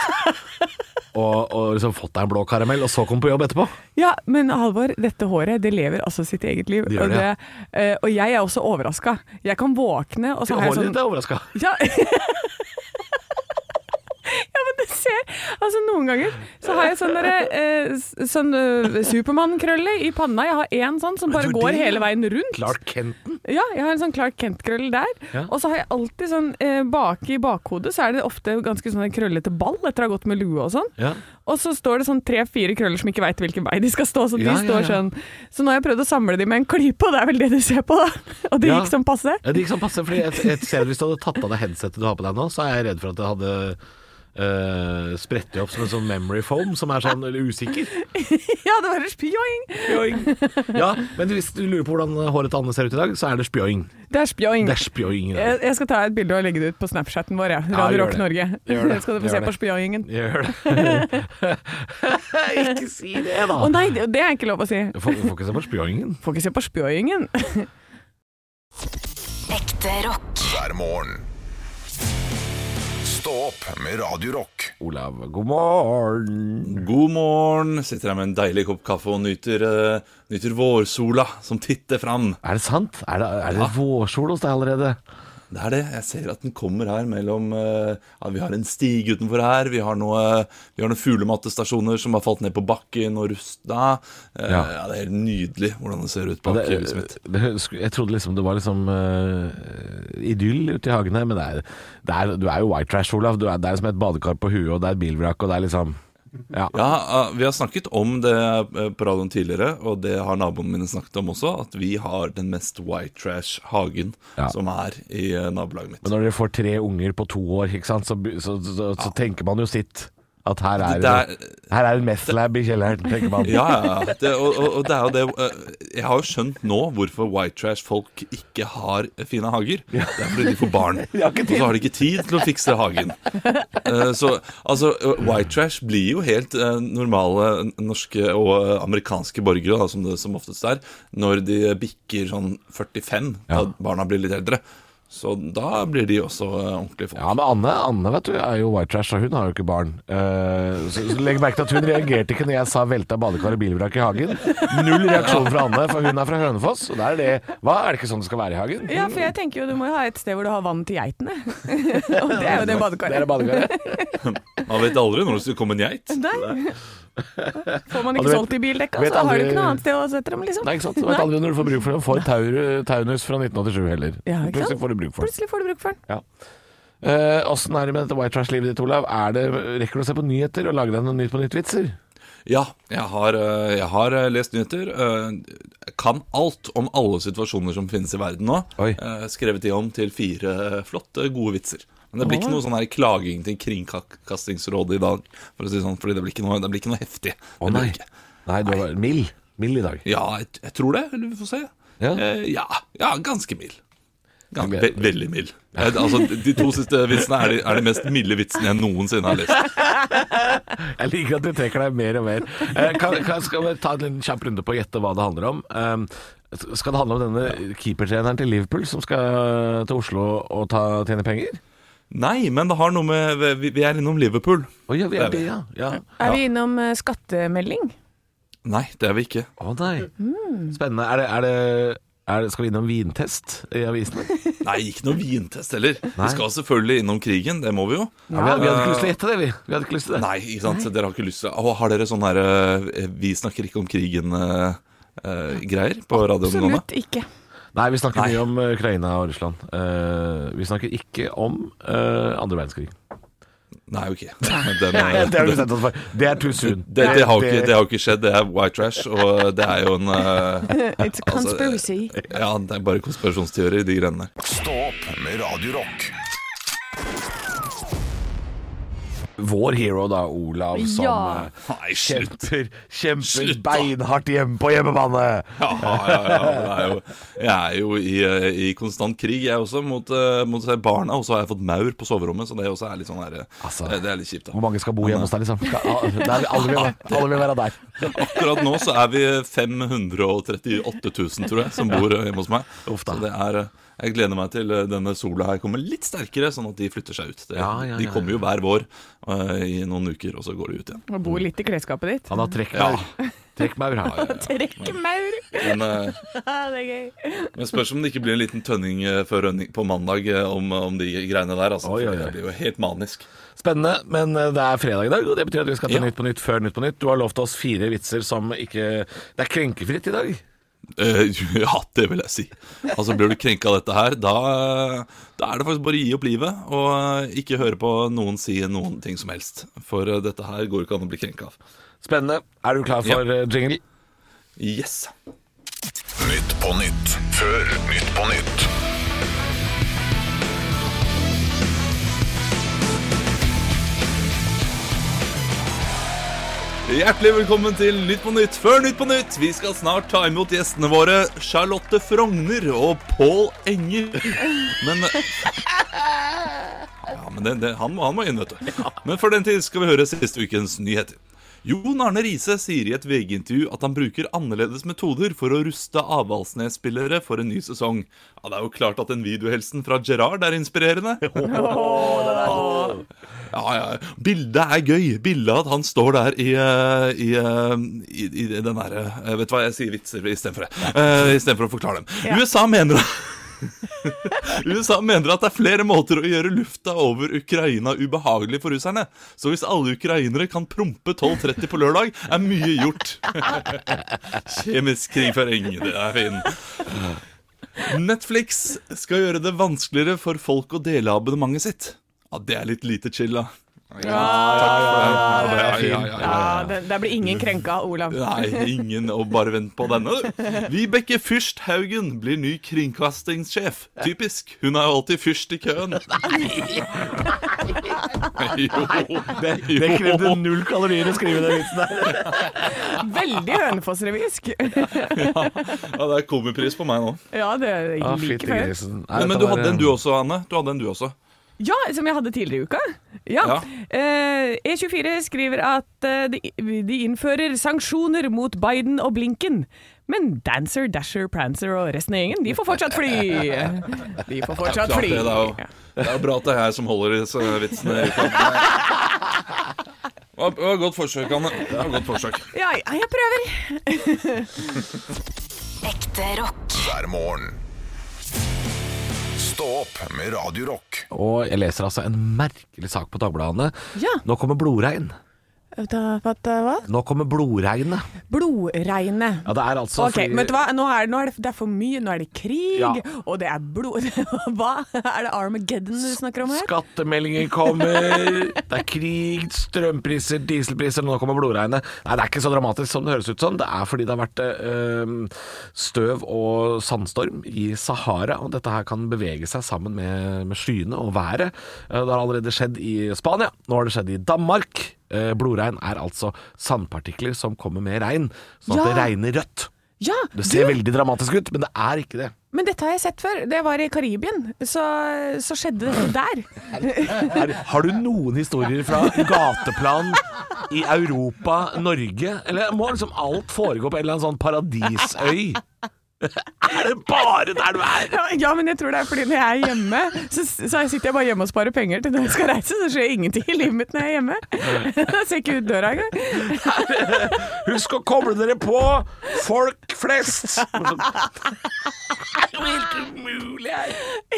S2: [laughs] Og, og liksom fått deg en blå karamell, og så kom på jobb etterpå.
S1: Ja, men Halvor, dette håret det lever altså sitt eget liv.
S2: Det gjør
S1: og,
S2: det, ja.
S1: eh, og jeg er også overraska. Jeg kan våkne, og så har jeg
S2: Håret
S1: sånn
S2: ditt er overraska.
S1: Ja. [laughs] ja, men du ser Altså, noen ganger så har jeg sånn derre eh, s- sånn eh, Supermann-krølle i panna. Jeg har én sånn som bare
S2: du,
S1: går
S2: det-
S1: hele veien rundt.
S2: Clark Kenton.
S1: Ja, jeg har en sånn Clark Kent-krøll der.
S2: Ja.
S1: Og så har jeg alltid sånn eh, bak i bakhodet, så er det ofte ganske sånn en krøllete ball etter å ha gått med lue og sånn.
S2: Ja.
S1: Og så står det sånn tre-fire krøller som ikke veit hvilken vei de skal stå. Så de
S2: Ja, ja,
S1: står
S2: ja.
S1: sånn. Så nå har jeg prøvd å samle de med en klype, og det er vel det du ser på, da. Og det
S2: Ja.
S1: gikk som passe.
S2: Ja, det gikk sånn passe, fordi jeg, jeg ser at hvis du hadde tatt av deg headsetet du har på deg nå, så er jeg redd for at det hadde uh, spredt det opp som en sånn memory foam som er sånn usikker.
S1: [laughs] Ja, det var spjoing!
S2: Spjoing. Ja, men hvis du lurer på hvordan håret til Anne ser ut i dag, så er det spjoing.
S1: Det er spjoing.
S2: Det er spjoing. i dag.
S1: Jeg, jeg skal ta et bilde og legge det ut på Snapchaten vår, jeg. Radio
S2: gjør
S1: Rock
S2: det.
S1: Norge.
S2: Gjør det.
S1: Da [laughs] skal du få
S2: Gjør
S1: se
S2: det.
S1: på spjoingen.
S2: Gjør det. [laughs] ikke si det, da.
S1: Å nei, det det er ikke lov å si.
S2: Du får, du får ikke se på spjoingen.
S1: Får ikke se på spjoingen.
S2: [laughs]
S9: Ekte rock.
S7: hver morgen. Stå opp med Radio Rock.
S2: Olav, god morgen.
S10: God morgen. Sitter her med en deilig kopp kaffe og nyter, eh, nyter vårsola som titter fram.
S2: Er det sant? Er det, er det vårsol hos deg allerede?
S10: Det er det. Jeg ser at den kommer her mellom eh, ja, Vi har en stig utenfor her. Vi har, noe, vi har noen fuglemattestasjoner som har falt ned på bakken og rusta. Eh, ja.
S2: Ja.
S10: det er helt nydelig hvordan det ser ut
S2: Ja,
S10: bak
S2: det-
S10: huset mitt.
S2: det høres- jeg trodde liksom det var liksom eh, idyll ute i hagen her, men det er, det er, du er jo white trash, Olav. Du er, det er som et badekar på huet, og det er et bilvrak, og det er liksom Ja.
S10: Ja, eh, Vi har snakket om det eh, på radioen tidligere, og det har naboene mine snakket om også. At vi har den mest white trash-hagen
S2: Ja.
S10: som er i eh, nabolaget mitt.
S2: Men når dere får tre unger på to år, ikke sant, så, by- så, så, så, så tenker man jo sitt. At her er
S10: Det-
S2: det,
S10: det
S2: her er en meth-lab i kjelleren, tenker man.
S10: Ja, ja, ja. Det, og, og, og det er jo det eh, Jeg har jo skjønt nå hvorfor white trash-folk ikke har fine hager. Det er fordi [laughs] de får barn. Og så har de ikke tid til å fikse hagen. Eh, Så altså, eh, white trash blir jo helt eh, normale norske og eh, amerikanske borgere, da, som det som oftest er, når de bikker sånn 45, da barna blir litt eldre. Så da blir de også eh, ordentlige folk.
S2: Ja, men Anne, Anne vet du, er jo white trash, og hun har jo ikke barn. Eh, så, så Legg merke til at hun reagerte ikke når jeg sa 'velta badekar og bilvrak i hagen'. Null reaksjon fra Anne, for hun er fra Hønefoss. Og der er det Hva, er det ikke sånn det skal være i hagen?
S1: Ja, for jeg tenker jo du må jo ha et sted hvor du har vann til
S2: [laughs]
S1: geitene. Og det er jo det
S2: Det er
S1: badekaret.
S2: badekaret.
S10: Man vet aldri når det skal komme en geit.
S1: Nei. Får man
S2: Og du
S1: ikke
S2: vet-
S1: solgt i bildekka,
S2: vet
S1: så har du
S2: aldri-
S1: ikke noe annet sted å sette dem, liksom.
S2: Nei, ikke sant. Du vet
S1: Nei.
S2: aldri når du får bruk for den. Får Taur- Taunus fra 1987 heller.
S1: Ja, ikke sant?
S2: Plutselig får du bruk for den.
S1: Plutselig får du bruk for den.
S2: Åssen er det med dette white trash-livet ditt, Olav? Er det, rekker du å se på nyheter og lage deg noen Nytt på nytt-vitser?
S10: Ja, jeg har, eh, jeg har eh, lest nyheter. eh, Kan alt om alle situasjoner som finnes i verden nå.
S2: Oi.
S10: eh, Skrevet de om til fire flotte, gode vitser. Men det blir ikke noe sånn her klaging til Kringkastingsrådet i dag. For å si det sånn, fordi det blir ikke noe, det blir ikke noe heftig. Det blir ikke.
S2: Nei, du var mild. Mild i dag.
S10: Ja, jeg, jeg tror det. Eller vi får se.
S2: Ja.
S10: Eh, ja, ja ganske mild.
S2: Jeg
S10: Gan- ve
S2: gleder meg.
S10: veldig mild. Eh, Altså, de to siste vitsene er de, er de mest milde vitsene jeg noensinne har lest.
S2: Jeg liker at du trekker deg mer og mer. Eh, Kan, kan, skal vi ta en liten kjapp runde på å gjette hva det handler om? Um, skal det handle om denne keepertreneren til Liverpool som skal til Oslo og ta, tjene penger?
S10: Nei, men det har noe med Vi, vi er innom Liverpool.
S2: Å ja, vi er
S10: Det er
S2: det,
S10: vi.
S2: ja. ja.
S1: Er vi innom eh, skattemelding?
S10: Nei, det er vi ikke.
S2: Å nei. Spennende. Er det, er det, er det Skal vi innom vintest i avisene?
S10: Nei, ikke noe vintest heller.
S2: Nei.
S10: Vi skal selvfølgelig innom krigen, det må vi jo.
S2: Ja, vi, hadde, vi hadde ikke lyst til å gjette det, vi. Vi hadde ikke lyst til det.
S10: Nei, ikke sant? Dere har ikke lyst til Å, Har dere sånn her eh, Vi snakker ikke om krigen-greier på radioen nå? da?
S1: Absolutt ikke.
S2: Nei, vi snakker
S10: Nei.
S2: mye om eh, Ukraina og Russland. Eh, vi snakker ikke om eh, andre verdenskrig.
S10: Nei, ok. [laughs] Den,
S2: Ja, det
S10: eh,
S2: har vi
S10: den-
S2: bestemt oss for. Det er too
S10: det,
S2: soon.
S10: det, det, har jo ikke, det har jo ikke skjedd. Det er white trash, og det er jo en
S1: [laughs]
S10: eh,
S1: It's a
S10: Altså,
S1: conspiracy.
S10: Ja, det er bare konspirasjonsteori, de greiene der.
S7: Stå opp med Radio Rock.
S2: vår hero, da, Olav, som
S6: Ja.
S2: eh,
S10: Nei, slutt.
S2: kjemper, kjemper
S10: Slutt, da.
S2: beinhardt hjemme på hjemmebane.
S10: Ja, ja, ja, men det er jo, jeg er jo i, eh, i konstant krig, jeg også, mot, eh, mot seg barna. Og så har jeg fått maur på soverommet, så det også er litt sånn der, eh,
S2: Altså.
S10: eh, Det er litt kjipt, da.
S2: Hvor mange skal bo hjemme hos deg, liksom? Det er, alle, vil, være- [laughs] alle vil være der.
S10: Akkurat nå så er vi 538 000, tror jeg, som bor eh, hjemme hos meg.
S2: Uff da.
S10: Så det er, eh, jeg gleder meg til eh, denne sola her kommer litt sterkere, sånn at de flytter seg ut. Det,
S2: Ja, ja,
S10: De
S2: ja,
S10: kommer jo hver vår eh, i noen uker, og så går de ut igjen.
S1: Og bor litt i klesskapet ditt.
S2: Han har trekkmaur. Trekkmaur har jeg.
S1: Trekk [laughs] maur!
S10: Men, eh,
S1: Det er gøy.
S10: men spørs om det ikke blir en liten tønning eh, før rønning på mandag eh, om, om de greiene der. Altså,
S2: Oi, oi, oi.
S10: for Det blir jo helt manisk.
S2: Spennende, men eh, det er fredag i dag, og det betyr at vi skal til
S10: Ja.
S2: Nytt på Nytt før Nytt på Nytt. Du har lovt oss fire vitser som ikke Det er krenkefritt i dag.
S10: Eh, [laughs] ja, det vil jeg si. Altså Blir du krenka av dette her, da, da er det faktisk bare å gi opp livet og eh, ikke høre på noen si noen ting som helst. For eh, dette her går ikke an å bli krenka av.
S2: Spennende. Er du klar for eh, jingle?
S10: Yes!
S7: Nytt på nytt. Før Nytt på nytt.
S10: Hjertelig velkommen til Nytt på Nytt før Nytt på Nytt. Vi skal snart ta imot gjestene våre Charlotte Frogner og Pål Enger. Men Ja, men det, det, han, må- han må inn, vet du. Men for den tid skal vi høre siste ukens nyheter. Jon Arne Riise sier i et VG-intervju at han bruker annerledes metoder for å ruste Avaldsnes-spillere for en ny sesong. Ja, Det er jo klart at en videohelsen fra Gerard er inspirerende. Ja, ja. Bildet er gøy. Bildet at han står der i, eh, i, eh, i, i den derre eh, Vet du hva, jeg sier vitser istedenfor det. Eh, Istedenfor å forklare dem. USA mener [laughs] USA mener at det er flere måter å gjøre lufta over Ukraina ubehagelig for russerne. Så hvis alle ukrainere kan prompe 12.30 på lørdag, er mye gjort. [laughs] Kjemisk krigføring, det er fin. Netflix skal gjøre det vanskeligere for folk å dele abonnementet sitt. Ja, det er litt lite chill, da. Ja, ja, ja, ja, ja, ja.
S1: Ja, det, der blir ingen krenka, Olav.
S10: Nei, ingen å bare vente på denne. du. Vibeke Fyrst Haugen blir ny kringkastingssjef. Typisk. Hun er jo alltid fyrst i køen. Jo.
S2: Det krevde
S10: jo.
S2: null kalorier å skrive den vitsen der.
S1: Veldig [laughs] Hønefoss-revisk.
S10: Ja, det er komipris på meg nå.
S1: Ja, det er
S2: Ah,
S1: like før.
S10: Men, men du hadde
S2: eh,
S10: en du også, Anne. Du hadde en du også.
S1: Ja, som jeg hadde tidligere i uka. Ja.
S10: Ja.
S1: Eh, E24 skriver at eh, de, de innfører sanksjoner mot Biden og Blinken. Men Dancer, Dasher, Prancer og resten av gjengen, de får fortsatt [laughs] fly. De får fortsatt
S10: Klart
S1: fly.
S10: det, det er jo
S1: Ja.
S10: det er jo bra at det er jeg som holder disse vitsene. i kanten. Det var- det var et godt forsøk, Anne. Det var et godt forsøk.
S1: Ja, ja, jeg prøver.
S9: Ekte rock.
S7: Hver morgen. Stå opp med Radio Rock.
S2: Og jeg leser altså en merkelig sak på Dagbladene.
S1: Ja.
S2: Nå kommer blodregn.
S1: hva?
S2: Nå kommer blodregnet.
S1: Blodregnet.
S2: Ja, det er altså
S1: Ok, men vet du hva? Nå er, nå er det, det er for mye. Nå er det krig,
S2: Ja.
S1: og det er blod... [laughs] Hva? Er det Armageddon du snakker om her?
S2: Skattemeldinger kommer, det er krig, strømpriser, dieselpriser, nå kommer blodregnet. Nei, det er ikke så dramatisk som det høres ut som. Det er fordi det har vært eh, støv og sandstorm i Sahara, og dette her kan bevege seg sammen med, med skyene og været. Eh, Det har allerede skjedd i Spania, nå har det skjedd i Danmark. Eh, Blodregn er altså sandpartikler som kommer med regn, sånn at
S1: Ja.
S2: det regner rødt.
S1: Ja,
S2: Det ser veldig dramatisk ut, men det er ikke det.
S1: Men dette har jeg sett før. Det var i Karibien. Så, så skjedde
S2: [laughs]
S1: dette der.
S2: Er, har du noen historier fra gateplan i Europa, Norge? Eller må liksom alt foregå på en eller annen sånn paradisøy? Er det bare der du er?
S1: Ja, Ja, men jeg tror det er fordi når jeg er hjemme, så, så sitter jeg bare hjemme og sparer penger til når jeg skal reise. Så skjer ingenting i livet mitt når jeg er hjemme. [laughs] Jeg ser ikke ut døra engang.
S2: Husk å koble dere på folk flest! Det er jo helt umulig her!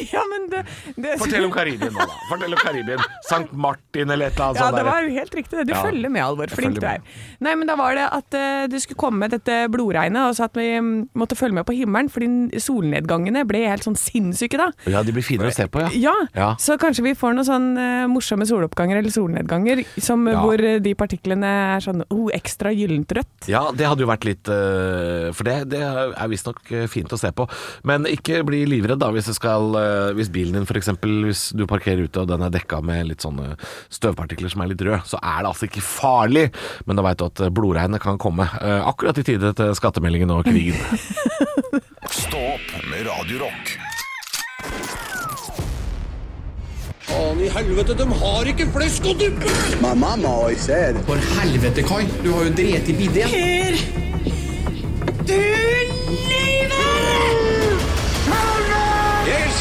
S1: Ja, men det, det
S2: Fortell om Karibien nå, da. Fortell om Karibien. Sankt Martin eller et eller annet
S1: Ja,
S2: sånt.
S1: det
S2: Sånn der.
S1: var helt riktig det. Du
S2: Ja.
S1: følger med, Alvor.
S2: Jeg
S1: Flink
S2: følger
S1: du er.
S2: med.
S1: Nei, men da var det at eh, det skulle komme dette blodregnet, og så at vi mm, måtte følge med på himmelen, fordi solnedgangene ble helt sånn sinnssyke da.
S2: Ja, de blir finere å se på, ja.
S1: Ja,
S2: Ja.
S1: så kanskje vi får noen sånn eh, morsomme soloppganger eller solnedganger som,
S2: Ja.
S1: hvor eh, de partiklene er sånn oh, ekstra gyllent rødt.
S2: Ja, det hadde jo vært litt eh, For det, det er visstnok eh, fint å se på. Men i ikke bli livredd da hvis, det skal, eh, hvis bilen din f.eks. Hvis du parkerer ute og den er dekka med litt sånne støvpartikler som er litt røde, så er det altså ikke farlig. Men da veit du at eh, blodregnet kan komme eh, akkurat i tide til skattemeldingen og krigen.
S7: Stå opp med Radio Rock.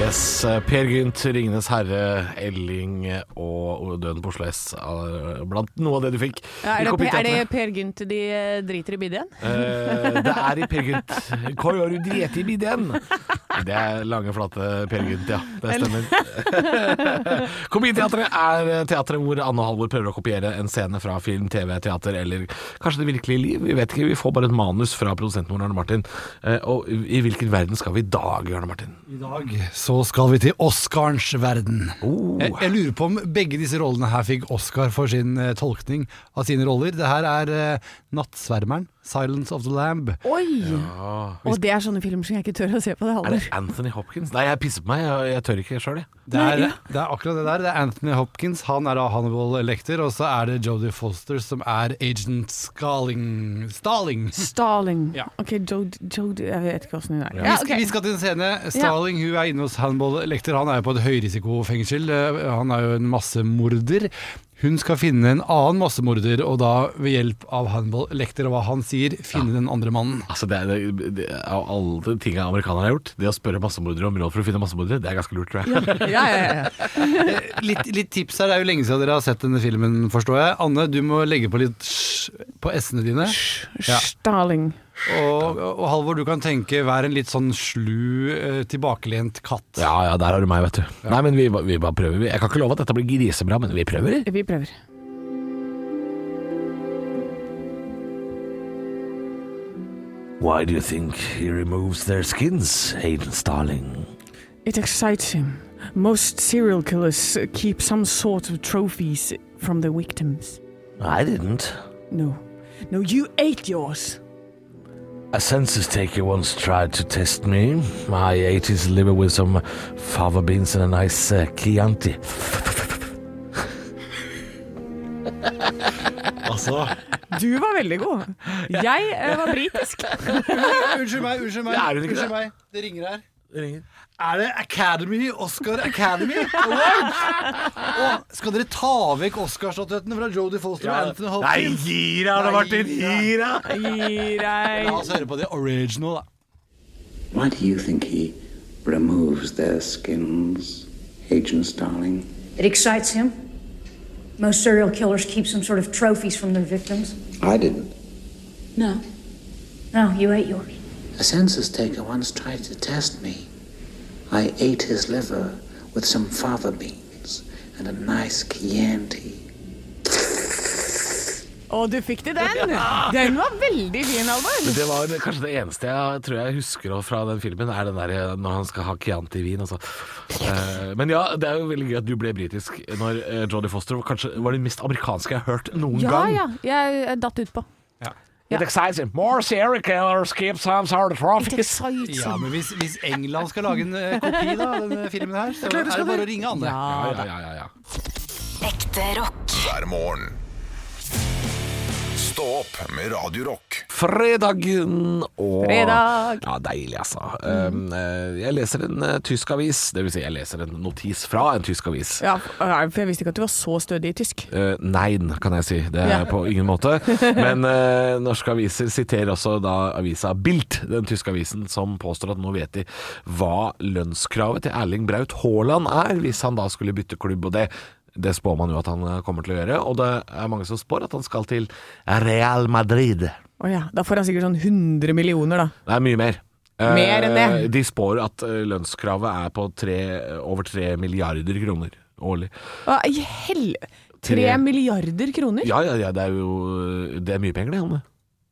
S2: Yes, eh, Per Gynt, Ringenes herre, Elling eh, og Døden på Oslo S. eh, Blant noe av det du fikk.
S1: er,
S2: i
S1: det,
S2: Kopiteatret.
S1: er det Per Gynt de eh, driter i bidden?
S2: Eh, det er i Per Gynt. Hva gjør du drete i bidden? Det er lange, flate Per Gynt, ja. Det stemmer. [laughs] Kopiteatret er eh, teatret hvor Anne og Halvor prøver å kopiere en scene fra film, TV, teater eller kanskje det virkelige liv. Vi vet ikke, vi får bare et manus fra produsenten vår, Arne Martin. Eh, Og i hvilken verden skal vi i dag, Arne Martin?
S11: I dag så skal vi til Oscarens verden.
S5: Oh.
S11: Jeg, jeg lurer på om begge disse rollene her fikk Oscar for sin eh, tolkning av sine roller. Det her er eh, Nattsvermeren, 'Silence of the Lamb'.
S1: Oi! Og det er sånne filmer som jeg ikke tør å se på. det
S2: Er det
S1: Halvor.
S2: Anthony Hopkins? Nei, jeg pisser på meg. Jeg, jeg tør ikke sjøl, jeg.
S11: Det er, det er akkurat det der. Det er Anthony Hopkins, han er da Hannibal Lecter, og så er det Jodie Foster som er agent Scaling... Staling.
S1: Stalin. Ok, Jod, Jod Jeg vet ikke åssen hun er.
S11: Vi skal- Vi skal til en scene. Starling hun er inne hos Hannibal Lecter. Han er jo på et høyrisikofengsel. Eh, Han er jo en massemorder. Hun skal finne en annen massemorder, og da ved hjelp av Hannibal Lecter og hva han sier, finne den andre mannen.
S2: Altså, det er, det, det, Av alle ting amerikanere har gjort, det å spørre massemordere om råd for å finne massemordere, det er ganske lurt, tror jeg.
S1: [laughs] Ja, ja, ja, ja.
S11: Eh, Litt, litt tips her. Det er jo lenge siden dere har sett denne filmen, forstår jeg. Anne, du må legge på litt sj på s-ene dine. Ja.
S1: Stalin.
S11: Og, og Halvor, du kan tenke vær en litt sånn slu, eh, tilbakelent katt.
S2: Ja, ja, der har du meg, vet du. Nei, men vi, ba- vi bare prøver. vi. Jeg kan ikke love at dette blir grisebra, men vi prøver.
S1: Vi prøver.
S2: Why do you think he removes their skins, Aiden Starling?
S1: It excites him. Most serial killers uh, keep some sort of trophies from their victims.
S2: I didn't.
S1: No. No, you ate yours.
S2: A census taker once tried to test me. I ate his liver with some fava beans and a nice uh, Chianti.
S1: Du var veldig god. Jeg eh, var britisk.
S11: Unnskyld meg, unnskyld meg.
S2: Ja, er hun ikke det?
S11: unnskyld meg. Det ringer her. Er det Academy, Oscar Academy Awards? Og skal dere ta vekk Oscarstatuettene fra Jodie Foster og Anthony Hopkins?
S2: gi deg,
S11: Arne Martin, gi
S2: deg!
S1: Gi
S11: La
S1: deg.
S11: oss høre på det original, da.
S8: Why do you think he removes their skins, Agent Starling?
S9: It excites him. Most serial killers keep some sort of trophies from their victims.
S8: I didn't.
S9: No. No, you ate yours.
S8: A census taker once tried to test me. I ate his liver with some fava beans and a nice Chianti.
S1: Og du fikk til den. Den var veldig fin, Halvor.
S2: Det var kanskje det eneste jeg tror jeg husker fra den filmen, er den der eh, når han skal ha Chianti-vin. Altså. Eh, Men ja, det er jo veldig gøy at du ble britisk når eh, Jodie Foster var kanskje var den mest amerikanske jeg har hørt noen
S1: Ja,
S2: gang.
S1: ja. Jeg eh, datt utpå.
S2: It excites him. More serial killers keep some sort of trophies.
S11: Ja, men hvis, hvis England skal lage en eh, kopi da, av denne filmen her, så er det bare å ringe Anne.
S2: Ja, ja, ja, ja, ja.
S9: Ekte rock.
S7: Hver morgen. Stå opp med Radio Rock.
S2: Fredagen og
S1: Fredag.
S2: Ja, deilig, altså. Um, eh, jeg leser en eh, tysk avis, det vil si jeg leser en notis fra en tysk avis.
S1: Ja, for jeg visste ikke at du var så stødig i tysk.
S2: Eh, nein, kan jeg si. Det er
S1: Ja.
S2: på ingen måte. Men eh, norske aviser siterer også da avisa Bilt, den tyske avisen, som påstår at nå vet de hva lønnskravet til Erling Braut Haaland er, hvis han da skulle bytte klubb. Og det, det spår man jo at han eh, kommer til å gjøre. Og det er mange som spår at han skal til Real Madrid.
S1: Å ja. Da får han sikkert sånn 100 millioner, da.
S2: Det er mye mer. Eh,
S1: Mer enn det.
S2: De spår at eh, lønnskravet er på tre, over tre milliarder kroner årlig.
S1: Å, i hel... Tre
S2: Tre.
S1: milliarder kroner?
S2: eh, Ja, ja, ja, det er jo Det er mye penger, det, Hanne.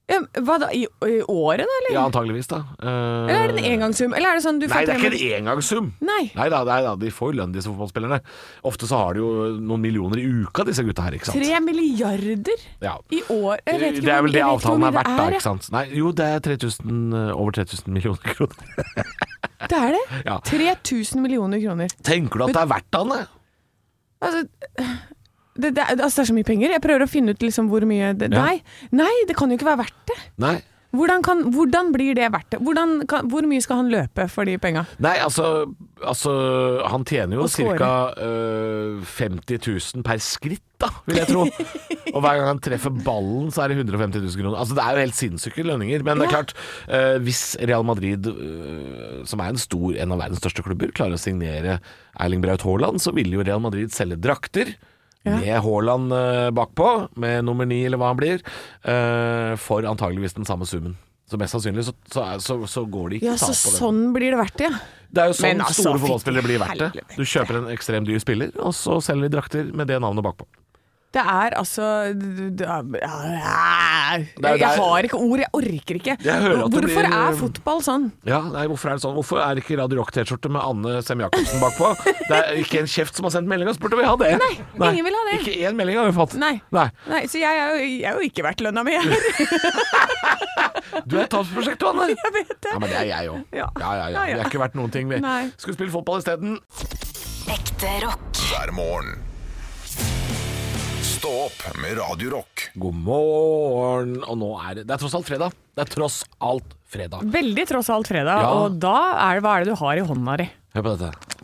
S1: Ja, men hva da? I, I året, da? Eller?
S2: Ja, antageligvis da. Eh,
S1: Eller er det en engangssum? Eller er det sånn du
S2: Nei,
S1: får
S2: det er
S1: tre
S2: ikke en engangssum!
S1: Nei.
S2: da, nei da, de får jo lønn, disse fotballspillerne. Ofte så har de jo noen millioner i uka, disse gutta her, ikke sant?
S1: Tre milliarder
S2: Ja.
S1: i år? Jeg vet ikke hvor-
S2: det er vel det
S1: jeg vet ikke hvor
S2: avtalen
S1: mye
S2: er verdt, da.
S1: jeg.
S2: ikke sant? Nei, jo, det er 3000, eh, over 3000 millioner kroner. [laughs]
S1: Det er det?
S2: Ja.
S1: 3000 millioner kroner.
S2: Tenker du at det er verdt han, det?
S1: Altså det, det, er- altså, det er så mye penger. Jeg prøver å finne ut liksom hvor mye det,
S2: Ja.
S1: nei, nei, det kan jo ikke være verdt det.
S2: Nei.
S1: Hvordan, kan, hvordan blir det verdt det? Hvordan kan, hvor mye skal han løpe for de penga?
S2: Nei, altså, altså Han tjener jo
S1: Og score.
S2: ca. 50 000 per skritt, da, vil jeg tro. Og hver gang han treffer ballen, så er det 150 000 kroner. Altså, det er jo helt sinnssyke lønninger. Men det er
S1: Ja.
S2: klart, eh, hvis Real Madrid, eh, som er en, stor, en av verdens største klubber, klarer å signere Erling Braut Haaland, så vil jo Real Madrid selge drakter.
S1: Ja.
S2: Med Haaland eh, bakpå, med nummer ni eller hva han blir, eh, for antageligvis den samme summen. Så mest sannsynlig så, så, er- så, så går de ikke
S1: Ja,
S2: tap
S1: så
S2: på det.
S1: sånn blir det verdt det, ja.
S2: Det er jo sånn
S1: Men altså,
S2: store
S1: fy
S2: fotballspillere blir verdt det. Du kjøper en ekstremt dyr spiller, og så selger de drakter med det navnet bakpå.
S1: Det er altså det er,
S2: er-
S1: Jeg har ikke ord, jeg orker ikke.
S2: Jeg hører at det
S1: Hvorfor
S2: blir-
S1: er fotball sånn?
S2: Ja, nei, Hvorfor er det sånn? Hvorfor er det ikke Radio Rock-T-skjorte med Anne Sem-Jacobsen bakpå? Det er ikke en kjeft som har sendt melding og spurt om vi har det.
S1: Nei, ingen vil ha det.
S2: Ikke én melding har vi fått.
S1: Nei. Nei, så jeg er jo, jeg er jo ikke verdt lønna mi, jeg [laughs] heller.
S2: Du er et tapsprosjekt, du,
S1: [laughs]
S2: Anne.
S1: Jeg vet det.
S2: Ja, men det er jeg òg.
S1: Ja.
S2: Ja, ja, ja.
S1: Ja, ja.
S2: Vi er ikke verdt noen ting, vi.
S1: Nei.
S2: Skulle spille fotball isteden.
S7: Ekte rock. Hver morgen. Stå opp med Radio Rock.
S2: God morgen. Og nå er det Det er tross alt fredag. Det er tross alt fredag.
S1: Veldig tross alt fredag,
S2: Ja.
S1: og da er det hva er det du har i hånda di?
S2: Hør på dette.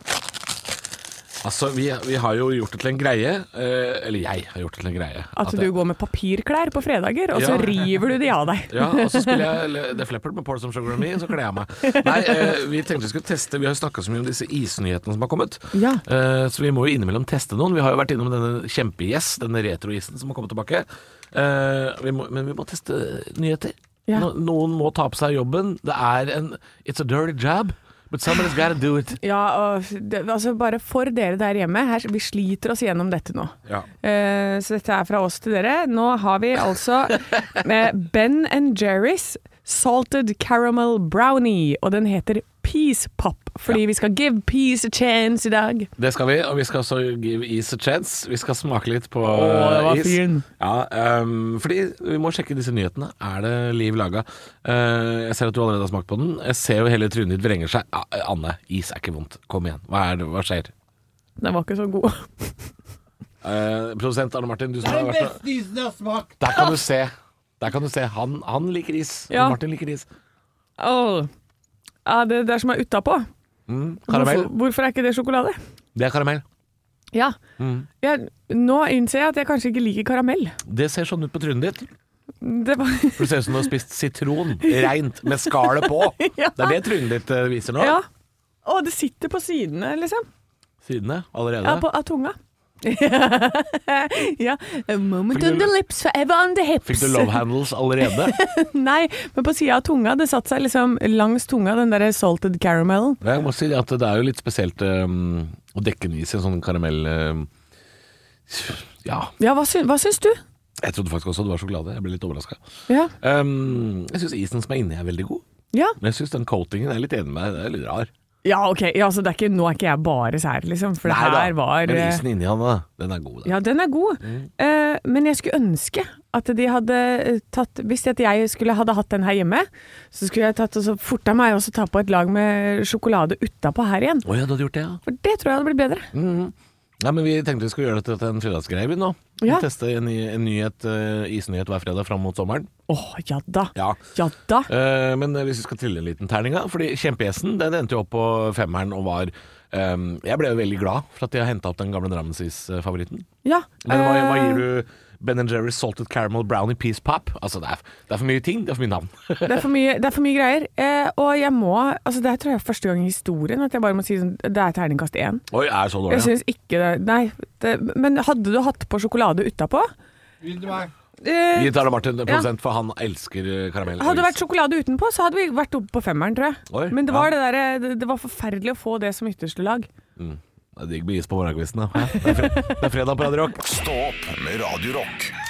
S2: Altså, vi, vi har jo gjort det til en greie, eh, eller jeg har gjort det til en greie.
S1: At
S2: det-
S1: du går med papirklær på fredager, og så
S2: Ja.
S1: river du de av deg.
S2: Ja, og så spiller jeg Le- The Fleppard med Paul Some Sugar and Me, så kler jeg meg. Nei, eh, vi tenkte vi skulle teste, vi har jo snakka så mye om disse isnyhetene som har kommet.
S1: Ja.
S2: Eh, så vi må jo innimellom teste noen. Vi har jo vært innom denne kjempegjess, denne retroisen som har kommet tilbake. Eh, vi må, men vi må teste nyheter.
S1: Ja.
S2: No, noen må ta på seg jobben. Det er en It's a dirty job, but somebody's gotta do it.
S1: Ja, og det, altså bare for dere der hjemme, her, vi sliter oss gjennom dette nå.
S2: Ja.
S1: Eh, så dette er fra oss til dere. Nå har vi
S2: [laughs]
S1: altså eh, Ben Jerry's Salted Caramel Brownie, og den heter Peace Pop, fordi vi skal give peace a chance i dag.
S2: Det skal vi, og vi skal også give is a chance. Vi skal smake litt på
S1: det var
S2: eh, is.
S1: fin.
S2: Ja, ehm, fordi vi må sjekke disse nyhetene. Er det liv laga? Eh, jeg ser at du allerede har smakt på den. Jeg ser jo hele trynet ditt vrenger seg. Ja, eh, Anne, is er ikke vondt. Kom igjen. Hva, er det, hva skjer?
S1: Den var ikke så god.
S2: Eh, produsent Arne Martin, du som har vært med.
S11: isen jeg har smakt.
S2: Der kan du se. Der kan du se. Han, han liker is.
S1: Ja.
S2: Arne Martin liker is.
S1: Åh. Ja, det, det er som er utapå.
S2: Mm,
S1: Hvorfor,
S2: karamell.
S1: hvorfor er ikke det sjokolade?
S2: Det er karamell.
S1: Ja.
S2: Mm.
S1: Jeg, nå innser jeg at jeg kanskje ikke liker karamell.
S2: Det ser sånn ut på trynet ditt.
S1: Det var [laughs]
S2: For Det ser ut som du har spist sitron reint med skallet på.
S1: Ja.
S2: Det er det trynet ditt eh, viser nå.
S1: Ja. Å, det sitter på sidene, liksom.
S2: Sidene allerede.
S1: Ja, på, av tunga. [laughs] ja. A moment
S2: Fikk du-
S1: on the lips, forever on the hips.
S2: Fikk du love handles allerede?
S1: [laughs] Nei, men på sida av tunga. Det satte seg liksom langs tunga, den derre salted caramelen.
S2: Jeg må si at det er jo litt spesielt um, å dekke den is i en sånn karamell um, Ja,
S1: Ja, hva, sy hva syns du?
S2: jeg trodde faktisk også det var sjokolade. Jeg ble litt overraska.
S1: Ja.
S2: Um, jeg syns isen som er inni er veldig god,
S1: Ja,
S2: men jeg syns den coatingen jeg er litt enig med deg, det er litt rar.
S1: ja ok. Ja, altså, det er ikke, nå er ikke jeg bare sær, liksom. For det
S2: Nei da,
S1: her var
S2: Men
S1: eh,
S2: isen inni han, da, den er god. Da.
S1: Ja, den er god.
S2: Mm.
S1: Eh, men jeg skulle ønske at de hadde eh, tatt Hvis at jeg skulle hadde hatt den her hjemme, så skulle jeg tatt og så forta meg også ta på et lag med sjokolade utapå her igjen.
S2: Å ja, du hadde gjort det, ja.
S1: For det tror jeg hadde blitt bedre.
S2: Mhm. Nei, men Vi tenkte vi skulle gjøre dette til en fredagsgreie vi, nå.
S1: Ja.
S2: Vi Teste en, ny- en nyhet, eh, isnyhet hver fredag fram mot sommeren.
S1: Å, ja da.
S2: Ja.
S1: Ja da.
S2: Eh, men hvis vi skal trille en liten terning, da, fordi kjempegjesten den endte jo opp på femmeren og var ehm, Jeg ble jo veldig glad for at de har henta opp den gamle Drammensis-favoritten.
S1: Ja.
S2: Men hva, hva
S1: eh,
S2: gir du Ben Jerry's Salted Caramel Brownie Peace Pop? Altså, det er, det er for mye ting, det er for mye navn. [laughs]
S1: Eh, Det er for mye, det er for mye greier. Eh, og jeg må Altså, det her tror jeg er første gang i historien at jeg bare må si sånn Det er terningkast én.
S2: Oi, er det så
S1: Jeg
S2: dårlig? ja?
S1: syns ikke det Nei. Det, men hadde du hatt på sjokolade utapå?
S11: Vil du meg?
S1: Eh,
S2: Gi Tara Martin en prosent, for han elsker eh, karamell.
S1: Hadde det vært sjokolade utenpå, så hadde vi vært oppe på femmeren, tror jeg.
S2: Oi,
S1: Men det var, det,
S2: ja.
S1: derre- det, det var forferdelig å få det som ytterste lag.
S2: Det er digg med is på morgenkvisten, da. Hæ? Det er fre- det er fredag på Radio Rock.
S7: Stå opp med Radio Rock.